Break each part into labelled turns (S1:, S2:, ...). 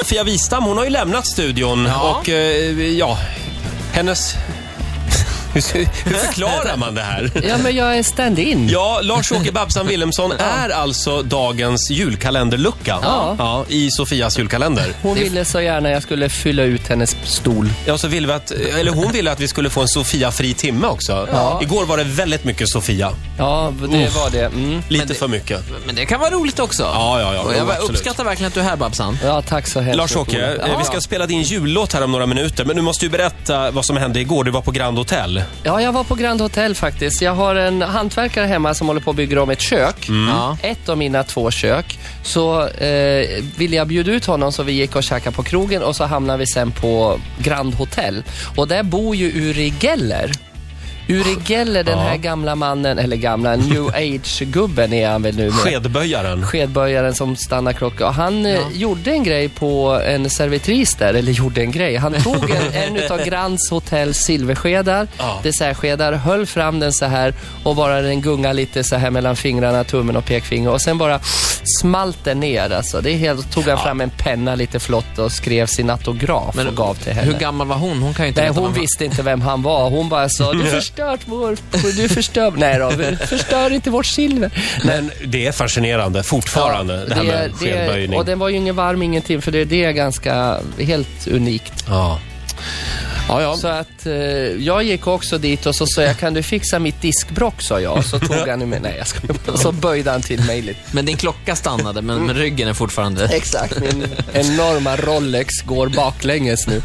S1: Lovisa Wistam, hon har ju lämnat studion
S2: Ja.
S1: och eh, ja, hennes... Hur hur förklarar man det här?
S3: Ja, men jag är stand-in.
S1: Ja, Lars-Åke Babsan Wilhelmsson är alltså dagens julkalenderlucka
S3: Ja.
S1: Ja, i Sofias julkalender.
S3: Hon ville så gärna jag skulle fylla ut hennes stol.
S1: Ja, så ville vi att, eller hon ville att vi skulle få en Sofia-fri timme också.
S3: Ja.
S1: Igår var det väldigt mycket Sofia.
S3: Ja, det var det. Mm.
S1: Lite
S2: det-
S1: för mycket.
S2: Men det kan vara roligt också.
S1: Ja, ja, ja.
S2: Och jag
S1: Jo, absolut.
S2: uppskattar verkligen att du är här, Babsan.
S3: Ja, tack så hemskt
S1: Lars-Åke,
S3: mycket, Ola.
S1: eh, vi ska spela din jullåt här om några minuter, men du måste ju berätta vad som hände igår. Du var på Grand Hotel.
S3: Ja, jag var på Grand Hotel faktiskt. Jag har en hantverkare hemma som håller på att bygga om ett kök.
S2: Ja.
S3: Ett av mina två kök. Så eh, ville jag bjuda ut honom så vi gick och käkade på krogen och så hamnade vi sen på Grand Hotel. Och där bor ju Uri Geller. Uri Geller, den här gamla mannen, eller gamla, new age-gubben är han väl nu.
S1: Skedböjaren.
S3: skedböjaren som stannar klockan. Och han eh, gjorde en grej på en servitris där, eller gjorde en grej. Han tog en, en utav Grands Hotells silverskedar,
S1: Ja.
S3: dessertskedar, höll fram den så här och bara den gungade lite så här mellan fingrarna, tummen och pekfinger och sen bara smalt den ner alltså. Det är helt, tog han fram en penna lite flott och skrev sin autograf och gav till henne.
S2: Hur gammal var hon? Hon kan ju inte
S3: Nej,
S2: veta
S3: hon
S2: vem-
S3: visste inte vem han var. Hon bara sa, du förstört vår... Du förstör... Nej då, förstör inte vårt silver.
S1: Men det är fascinerande fortfarande, det här med skedböjning.
S3: och den var ju ingen varm ingenting, för det, det är ganska helt unikt.
S1: Ja.
S2: Ja, ja.
S3: Så att eh, jag gick också dit och så sa jag, kan du fixa mitt diskbrock, sa jag. Så tog han med nej jag skojar bara. Så böjde han till mig lite.
S2: Men din klocka stannade, men,
S3: Mm.
S2: men ryggen är fortfarande...
S3: Exakt, min enorma Rolex går baklänges nu.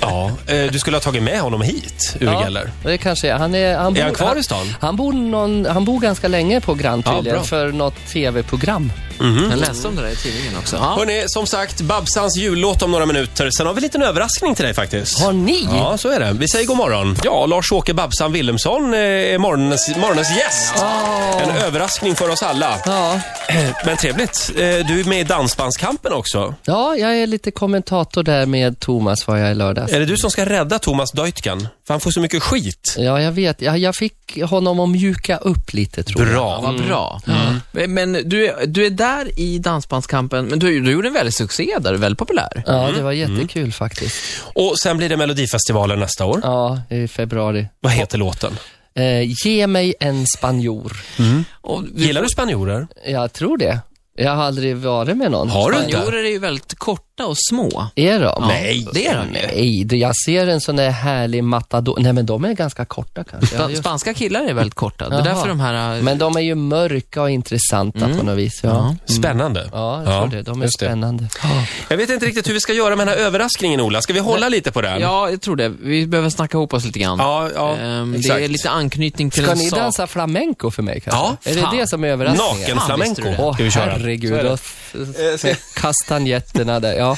S1: ja. Eh, Du skulle ha tagit med honom hit, Uri Geller.
S3: det kanske är. Han är, han bor,
S1: han kvar i stan?
S3: Han bor, någon, han bor ganska länge på Grand
S1: Ja,
S3: tydligen,
S1: bra.
S3: för något tv-program. Mm.
S2: Jag läste om det där i tidningen också. Ja.
S1: Hörni, som sagt, Babsans jullåt om några minuter. Sen har vi en liten överraskning till dig faktiskt.
S3: Har ni?
S1: Ja, så är det. Vi säger god morgon. Ja, Lars-Åke Babsan Wilhelmsson eh, är morgonens, morgonens gäst. En överraskning för oss alla.
S3: Ja.
S1: Men trevligt. Eh, Du är med i Dansbandskampen också.
S3: ja, jag är lite kommentator där med Thomas var jag i lördags.
S1: Är det du som ska rädda Thomas Deutgen? För han får så mycket skit.
S3: Ja, jag vet. Jag, jag fick honom att mjuka upp lite, tror jag.
S1: Bra.
S2: Vad bra. Men- Men du är, du är där i Dansbandskampen, men du, du gjorde en väldig succé där, väldigt populär.
S3: Ja, det var jättekul faktiskt.
S1: Och sen blir det Melodifestivalen nästa år.
S3: Ja, i februari.
S1: Vad heter låten?
S3: Eh, ge mig en spanjor.
S2: Och du,
S1: Gillar du spanjorer?
S3: Jag tror det. Jag har aldrig varit med någon.
S1: Har du inte?
S2: Spanjorer är ju väldigt korta och små.
S3: Är de?
S1: Nej.
S2: Det är de ju.
S3: Nej, det- jag ser en sån där härlig matador. Nej, men de är ganska korta kanske. Ja,
S2: Spa-
S3: just-
S2: Spanska killar är väldigt korta. Det är
S3: Jaha.
S2: därför de här... äh,
S3: men de är ju mörka och intressanta på något vis. Ja,
S1: Spännande.
S3: Mm. ja jag tror det. De är
S1: just det.
S3: spännande.
S1: Jag vet inte riktigt hur vi ska göra med den här överraskningen, Ola. Ska vi hålla lite på den?
S2: Ja, jag tror det. Vi behöver snacka ihop oss lite grann.
S1: ja, ja
S2: Ehm, det
S1: exakt.
S2: är lite anknytning till
S3: Ska
S2: en
S3: ni
S2: sak.
S3: dansa flamenco för mig kanske?
S1: Ja,
S3: är
S2: fan.
S3: det det som är överraskningen?
S1: Nakenflamenco
S2: Fan, visste
S3: Åh,
S1: ska vi köra. Så är
S3: herregud.
S1: det. Eh,
S3: Och f- f- kastanjetterna där. Ja.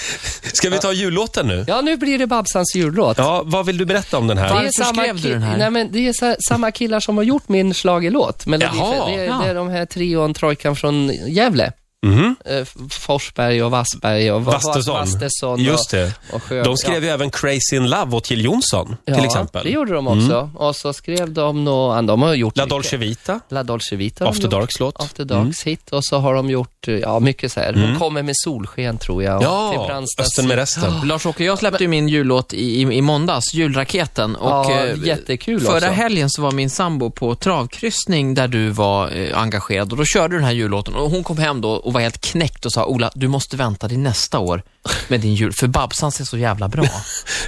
S1: Ska vi ta jullåten nu?
S3: ja, nu blir det Babsans jullåt.
S1: Ja, vad vill du berätta om den här?
S3: Det är
S2: Varför skrev du
S3: ki-
S2: den här?
S3: Nej, men det är sa- samma killar som har gjort min schlagerlåt. Men det,
S1: Jaha,
S3: är,
S2: ja.
S3: det är de här trion, trojkan från Gävle.
S1: Mhm.
S3: Eh, F- Forsberg och Wassberg och Va-
S1: Vastesson.
S3: Vastesson och,
S1: Just det.
S3: och Sjö.
S1: De skrev ju även Crazy in Love åt Jill Johnson,
S3: ja.
S1: till
S3: Ja, det
S1: exempel. Mm.
S3: gjorde de också. Och så skrev de nog, de har gjort
S1: La
S3: mycket.
S1: Dolce Vita,
S3: La Dolce Vita. har de
S1: After
S3: gjort.
S1: Darks låt. Mm.
S3: After Darks hit och så har de gjort, eh, ja mycket så här. Hon kommer med solsken tror jag. och till
S1: Ja,
S3: Brandstads-
S1: Östen med resten.
S2: Lars-Åke, jag släppte ju min jullåt i, i, i måndags, julraketen. Och,
S3: ja,
S2: eh,
S3: jättekul
S2: Förra
S3: också.
S2: helgen så var min sambo på travkryssning där du var eh, engagerad och då körde du den här jullåten och hon kom hem då och var helt knäckt och sa Ola, du måste vänta till nästa år med din jul, för Babsan ser så jävla bra.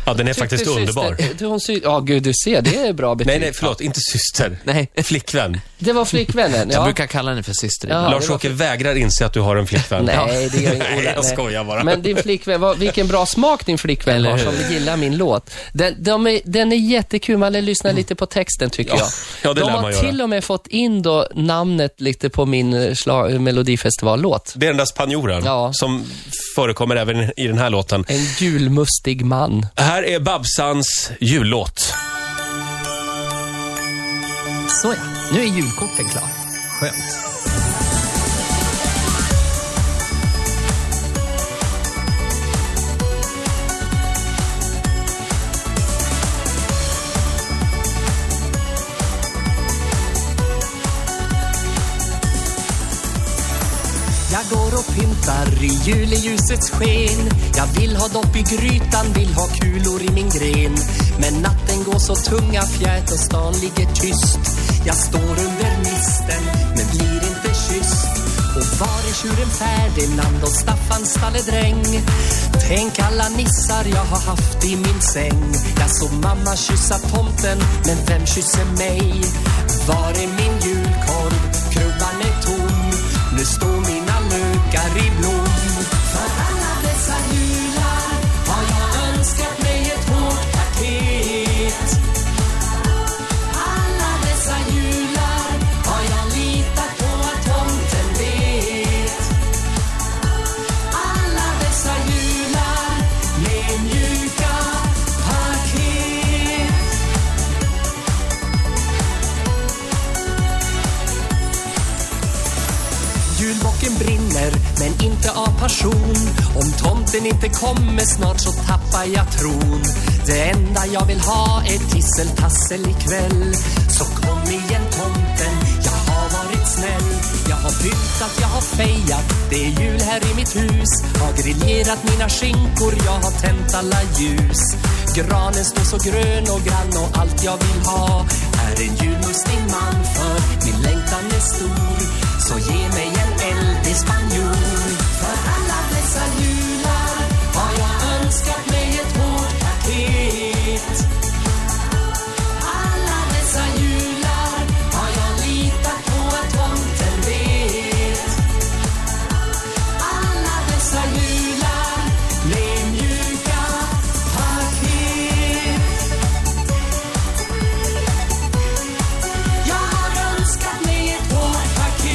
S1: Ja, den är faktiskt
S3: Tyckte
S1: underbar.
S3: Typ syster- eh, hon sy- ja, gud du ser, det är bra betyg.
S1: Nej, nej, förlåt, inte syster.
S2: Nej,
S1: Flickvän.
S3: Det var flickvännen,
S2: jag
S3: ja.
S2: brukar kalla henne för syster
S3: Ja.
S2: ibland.
S1: Lars-Åke vägrar inse att du har en flickvän.
S3: Nej, det gör inte
S1: Nej,
S3: Ola,
S1: jag skojar bara.
S3: Men din flickvän, vad, vilken bra smak din flickvän
S2: Eller
S3: har
S2: hur?
S3: som gillar min låt. Den, de är, den är jättekul, man lyssnar lite på texten tycker jag.
S1: ja, det
S3: de
S1: lär
S3: har
S1: man göra.
S3: till och med fått in då namnet lite på min eh, schla- eh, melodifestivallåt.
S1: Det är den där spanjoren
S3: Ja.
S1: som förekommer även i den här låten.
S3: En julmustig man.
S1: Här är Babsans jullåt.
S3: Såja, nu är julkorten klar.
S1: Skönt.
S4: Jag
S3: Jag går och pyntar i juleljusets sken Jag vill ha dopp i grytan, vill ha kulor i min gren Men natten går så tunga fjät och stan ligger tyst Jag står under misten men blir inte kysst Och var är tjuren Ferdinand och Staffans stalledräng? Tänk alla nissar jag har haft i min säng Jag såg mamma kyssa tomten, men vem kysser mig? Var är min julkorv? Krubban är tom Nu står mina lökar i blom För alla dessa jular har jag önskat mig ett hårt paket alla dessa jular har jag litat på att tomten vet. Alla dessa jular med mjuka paket. Julbocken brinner, men inte av passion. Om tomten inte kommer snart så tappar jag tron. Det enda jag vill ha är tisseltassel ikväll. Så kom igen tomten, jag har varit snäll. Jag har pyntat, jag har fejat, det är jul här i mitt hus. Har grillerat mina skinkor, jag har tänt alla ljus. Granen står så grön och grann och allt jag vill ha är en julmustig man för min längtan är stor. Så ge mig en eld i spanjor För alla dessa jular har jag önskat mig ett hårt paket Alla dessa jular har jag litat på att tomten vet Alla dessa jular blev mjuka paket Jag har önskat mig ett hårt paket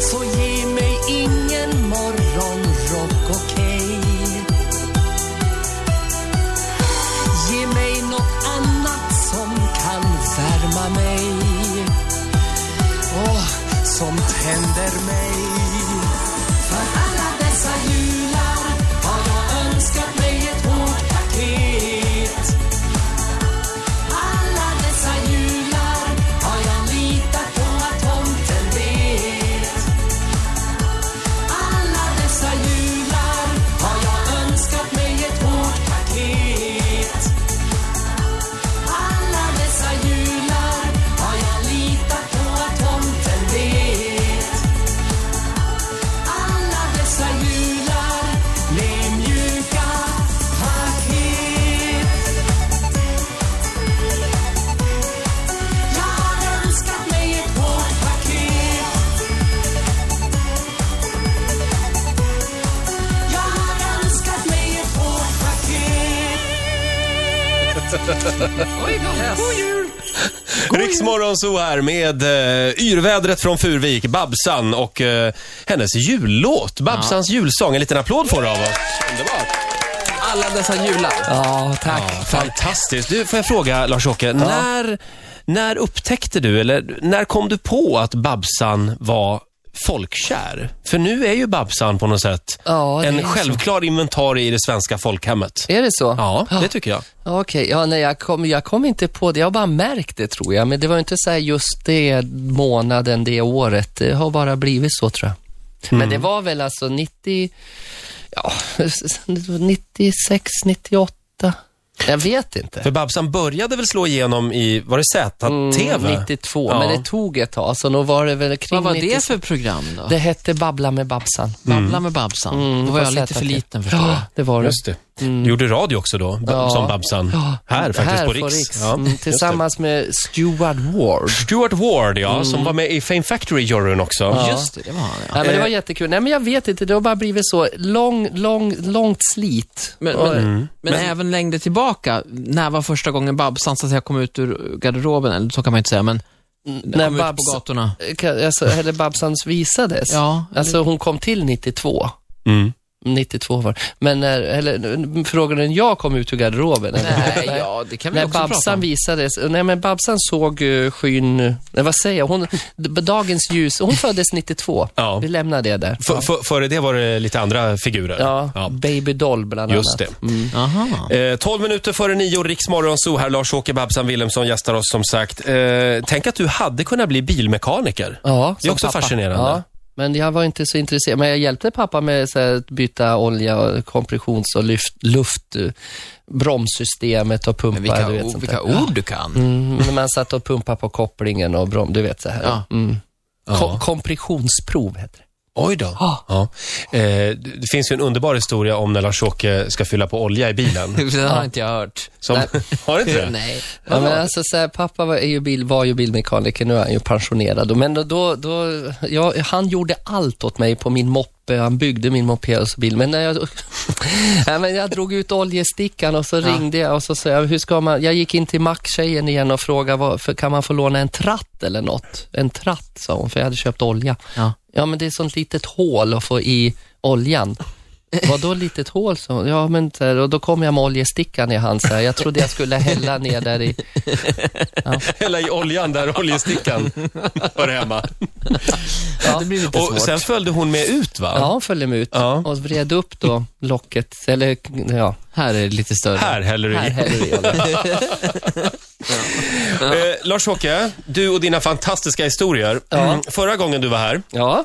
S3: Så ge mig ingen morgonrock, okej? Ge mig något annat som kan värma mig och som tänder mig För alla dessa jular har jag önskat mig ett hårt paket alla dessa jular har jag litat på att tomten vet. Alla dessa jular har jag önskat mig ett hårt paket. Alla dessa jular har jag litat på att tomten vet. Alla dessa jular blev mjuka paket. Jag har önskat mig ett hårt paket Jag har önskat mig ett hårt paket
S1: Riksmorgonzoo här med eh, yrvädret från Furvik, Babsan och eh, hennes jullåt, Babsans julsång. En liten applåd får du av oss. Underbart.
S2: Alla dessa jular.
S5: Ja, tack.
S1: Ja, fantastiskt. Du, får jag fråga Lars-Åke, när, när upptäckte du, eller när kom du på att Babsan var folkkär? För nu är ju Babsan på något sätt
S5: Ja, det är
S1: en
S5: så.
S1: självklar inventarie i det svenska folkhemmet.
S5: Är det så?
S1: Ja, det tycker jag.
S5: Ja, Okej, ja, nej, jag, kom, jag kom inte på det. Jag har bara märkt det tror jag. Men det var inte så här just det månaden, det året. Det har bara blivit så tror jag. Men det var väl alltså 90, ja, 96, 98. Jag vet inte.
S1: För Babsan började väl slå igenom i, var det Z-TV?
S3: Mm,
S5: 92,
S1: Ja.
S5: men det tog ett tag. Så nog var det väl kring
S2: Vad var
S5: 90
S2: det för program då?
S5: Det hette Babbla med Babsan.
S3: Mm.
S2: Babbla med Babsan. då var
S5: på
S2: jag lite
S5: ZTV.
S2: för liten förstår jag.
S5: det var det.
S1: Just det. Du gjorde radio också då, b-
S5: Ja.
S1: som Babsan. Här faktiskt på Riks. Ja,
S5: Mm,
S1: just det.
S5: tillsammans med Stuart Ward.
S1: Stuart Ward, ja, som var med i Fame Factory-juryn också.
S2: Just det, det var han ja.
S5: Ja, men det var jättekul. Nej, men jag vet inte. Det har bara blivit så lång, lång, långt slit.
S2: Men, men, men även längre tillbaka, när var första gången Babsan så att säga kom ut ur garderoben? Eller så kan man inte säga, men
S5: När
S2: kom ut
S5: Babs,
S2: på gatorna.
S3: eh,
S5: Ka- alltså, eller Babsans visades.
S2: Ja,
S5: Alltså hon kom till 92.
S1: Mm.
S3: 92 var det. Men när, eller frågade när jag kom ut ur garderoben? eller?
S2: Nej, ja, det kan vi
S3: När
S2: också prata
S3: Babsan
S2: om.
S3: visades, nej men Babsan såg eh, skyn, nej, vad säger jag, hon, d- dagens ljus, hon föddes 92.
S1: Ja.
S3: Vi lämnar det där.
S1: F- f- före det var det lite andra figurer.
S3: Ja, Baby Doll bland
S1: Just
S3: annat.
S1: det.
S2: Aha.
S1: Eh, 12 minuter före nio, Riks Morgonzoo här. Lars-Åke Babsan Willemsson gästar oss som sagt. Eh, tänk att du hade kunnat bli bilmekaniker.
S3: Ja,
S1: Det är
S3: som
S1: också
S3: pappa.
S1: fascinerande.
S3: Ja, men jag var inte så intresserad. Men jag hjälpte pappa med så här, att byta olja, och kompressions och luft, luft eh, bromssystemet och pumpar.
S2: Men vilka,
S3: du vet,
S2: o-
S3: sånt
S2: vilka
S3: där.
S2: ord du kan.
S3: Mm, när man satt och pumpade på kopplingen och brom, du vet så här.
S2: Ja.
S3: Mm. Ko-
S1: Ja.
S3: kompressionsprov heter det.
S1: Oj då. Ja. Eh, det- det finns ju en underbar historia om när Lars-Åke ska fylla på olja i bilen.
S2: Det har inte jag hört.
S1: Som, har inte det?
S2: Nej.
S3: Ja, men alltså, så här, pappa var, är ju bil, var ju bilmekaniker, nu är han ju pensionerad. Men då, då, då, ja, han gjorde allt åt mig på min moppe, han byggde min moped och så bil. Men när jag, ja, men jag drog ut oljestickan och så ringde jag och så sa jag, hur ska man, jag gick in till Mac-tjejen igen och frågade, vad, för, kan man få låna en tratt eller något? En tratt, sa hon, för jag hade köpt olja.
S2: Ja.
S3: Ja, men det är sånt litet hål att få i oljan. Vadå litet hål? Så, ja, men så här, och då kom jag med oljestickan i hand. Så här. Jag trodde jag skulle hälla ner där i...
S1: Hälla i oljan där oljestickan var hemma.
S2: Det blir lite
S1: Och
S2: svårt.
S1: sen följde hon med ut va?
S3: Ja, hon följde mig ut
S1: Ja.
S3: och vred upp då locket, eller ja,
S2: Här är det lite större.
S1: Här häller du
S3: här
S1: i.
S3: häller vi olja.
S1: Eh, Lars-Åke, du och dina fantastiska historier. Mm, Förra gången du var här
S3: Ja,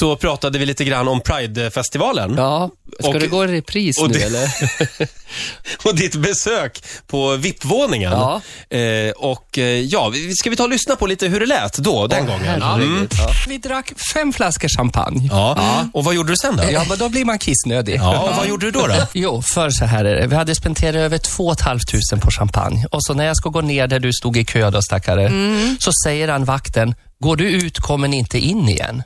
S1: så pratade vi lite grann om Pride-festivalen.
S3: ja. Ska
S1: Och-
S3: det gå i repris
S1: och
S3: nu
S1: det-
S3: eller?
S1: och ditt besök på VIP-våningen.
S3: Ja.
S1: Eh, och eh, ja, vi- ska vi ta och lyssna på lite hur det lät då, den gången?
S3: Herregud. Ja.
S4: Vi drack fem flaskor champagne.
S1: Ja. Och vad gjorde du sen då?
S4: Ja, men då blir man kissnödig.
S1: Ja, och vad gjorde du då? då?
S4: Jo, för så här är det. Vi hade spenderat över 2 500 på champagne. Och så när jag ska gå ner där du stod i kö då, stackare, så säger han vakten, går du ut kommer ni inte in igen.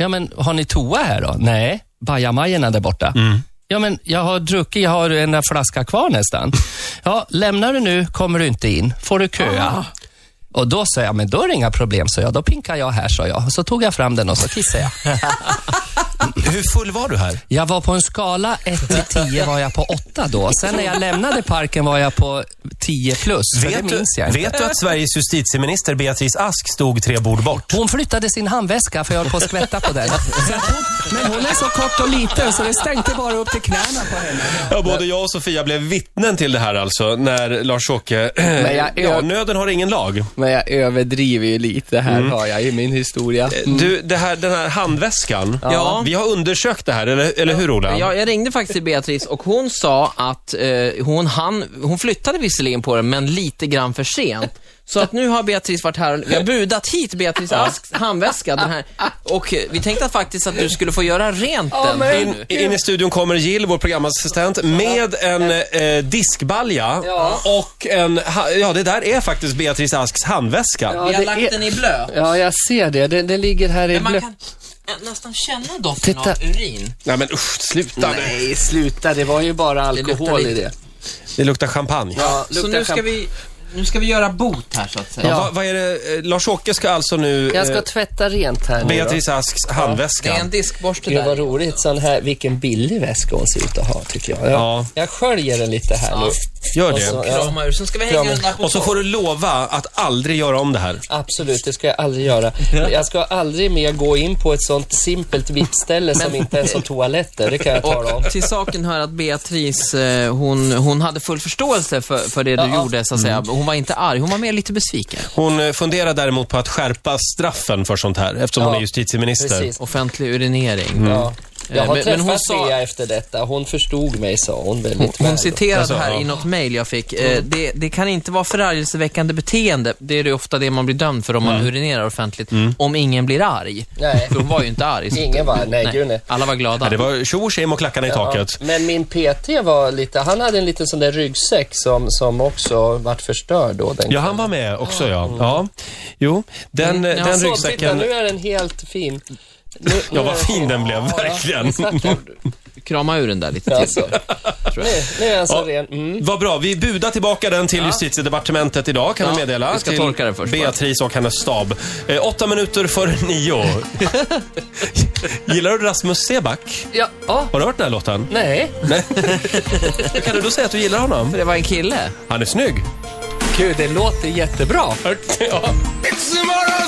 S4: Ja, men har ni toa här då? Nej, bajamajorna där borta. Ja, men jag har druckit, jag har en flaska kvar nästan. Ja, lämnar du nu kommer du inte in. Får du köa. Och då sa jag, men då är det inga problem, sa jag. Då pinkar jag här, sa jag. Och så tog jag fram den och så kissade jag.
S1: Hur full var du här?
S4: Jag var på en skala 1 till 10 var jag på 8 då. Sen när jag lämnade parken var jag på 10 plus. För det
S1: Vet du,
S4: minns jag inte.
S1: vet du att Sveriges justitieminister Beatrice Ask stod tre bord bort?
S4: Hon flyttade sin handväska för jag höll på att skvätta på den. Sen hon- Men hon är så kort och liten så det stänkte bara upp till knäna på henne.
S1: Ja, både jag och Sofia blev vittnen till det här alltså, när Lars-Åke...
S3: Men jag-
S1: Ja, nöden har ingen lag. Mm.
S3: Men jag överdriver ju lite här har jag i min historia.
S1: Eh,
S3: Mm.
S1: Du, det här, den här handväskan.
S2: Ja.
S1: Vi har undersökt det här, eller, eller hur Ola?
S2: Ja, jag ringde faktiskt till Beatrice och hon sa att eh, hon, hann, hon flyttade visserligen på den, men lite grann för sent. Så att nu har Beatrice varit här och vi har budat hit Beatrice Asks handväska. Den här. Och eh, vi tänkte att faktiskt att du skulle få göra rent den.
S1: In, in i studion kommer Jill, vår programassistent, med en eh, diskbalja och en... ha- Ja, det där är faktiskt Beatrice Asks handväska.
S2: Vi har
S3: det
S2: lagt
S3: är-
S2: den i blöt.
S3: Ja, jag ser det. Den, den ligger här i
S2: Men man
S3: blö...
S2: kan eh, nästan känna doften
S3: Titta.
S2: av urin.
S1: Nej men usch, sluta nu.
S3: Nej, sluta. Det var ju bara
S2: luktar
S3: alkohol i
S2: lite.
S3: det.
S1: Det luktar champagne. Ja.
S3: Ja,
S2: Så
S3: luktar
S2: nu ska,
S3: champagne.
S2: vi, nu ska vi göra bot här så att säga.
S1: Vad vad är det? Eh, Lars-Åke ska alltså nu...
S3: Jag ska
S1: eh,
S3: tvätta rent här nu då.
S1: Beatrice Asks handväska.
S2: Det är en diskborste
S3: Gud
S2: där.
S3: vad roligt, sån här, vilken billig väska hon ser ut att ha tycker jag. Jag,
S1: Ja.
S3: jag sköljer den lite här nu.
S1: Gör
S3: Och så-
S1: det.
S3: ja.
S2: Krama ur. Sen ska vi hänga
S3: Krama.
S2: den där på
S1: Och så får du lova att aldrig göra om det här.
S3: Absolut, det ska jag aldrig göra. Jag ska aldrig mer gå in på ett sånt simpelt vippställe som inte ens har toaletter, det kan jag tala om.
S2: Och till saken hör att Beatrice, eh, hon, hon hade full förståelse för, för det du
S3: Ja. Mm.
S2: gjorde, så att säga. Hon var inte arg, hon var mer lite besviken.
S1: Hon eh, funderar däremot på att skärpa straffen för sånt här, eftersom
S3: Ja,
S1: hon är justitieminister.
S3: Precis.
S2: Offentlig urinering.
S3: Ja. Jag har
S2: Mm. Men- men
S3: träffat
S2: hon sa-
S3: Bea efter detta, hon förstod mig sa hon väldigt väl.
S2: Hon citerade
S1: Alltså,
S2: här
S1: ja.
S2: i något mejl jag fick. Eh, det, det kan inte vara förargelseväckande beteende. Det är det ofta det man blir dömd för om man urinerar offentligt. Om ingen blir arg.
S3: Mm. Nej.
S2: För hon var ju inte arg. så-
S3: Ingen var- nej, gud, nej.
S2: Alla var
S1: Ja,
S2: glada.
S1: det var tjo och tjim och klackarna i
S3: Ja,
S1: taket.
S3: men min PT var lite, han hade en liten sån där ryggsäck som, som också vart förstörd då. Den
S1: Ja, han var med också ja. ja. Jo, den,
S2: Mm,
S1: eh,
S2: ja,
S1: den
S2: så,
S3: Så, titta,
S1: ryggsäcken...
S3: nu är den helt fin. Nu, nu
S1: Ja, vad
S3: är den
S1: fin den blev, verkligen.
S3: Stackarn.
S2: Krama ur den där lite
S3: Ja,
S2: till.
S3: så. Nu, nu är den så
S1: Ja.
S3: ren. Mm.
S1: Vad bra, vi budar tillbaka den till justitiedepartementet idag kan
S2: Ja,
S1: vi meddela.
S2: vi ska
S1: till
S2: torka den först bara.
S1: Beatrice och hennes stab. Eh, åtta minuter före nio. Gillar du Rasmus Seback?
S3: Ja, ah,
S1: Har du hört den här låten?
S3: nej.
S1: Nej. Hur kan du då säga att du gillar honom?
S2: Det var en kille.
S1: Han är snygg.
S3: Gud, det låter jättebra.
S1: Ja. It's tomorrow,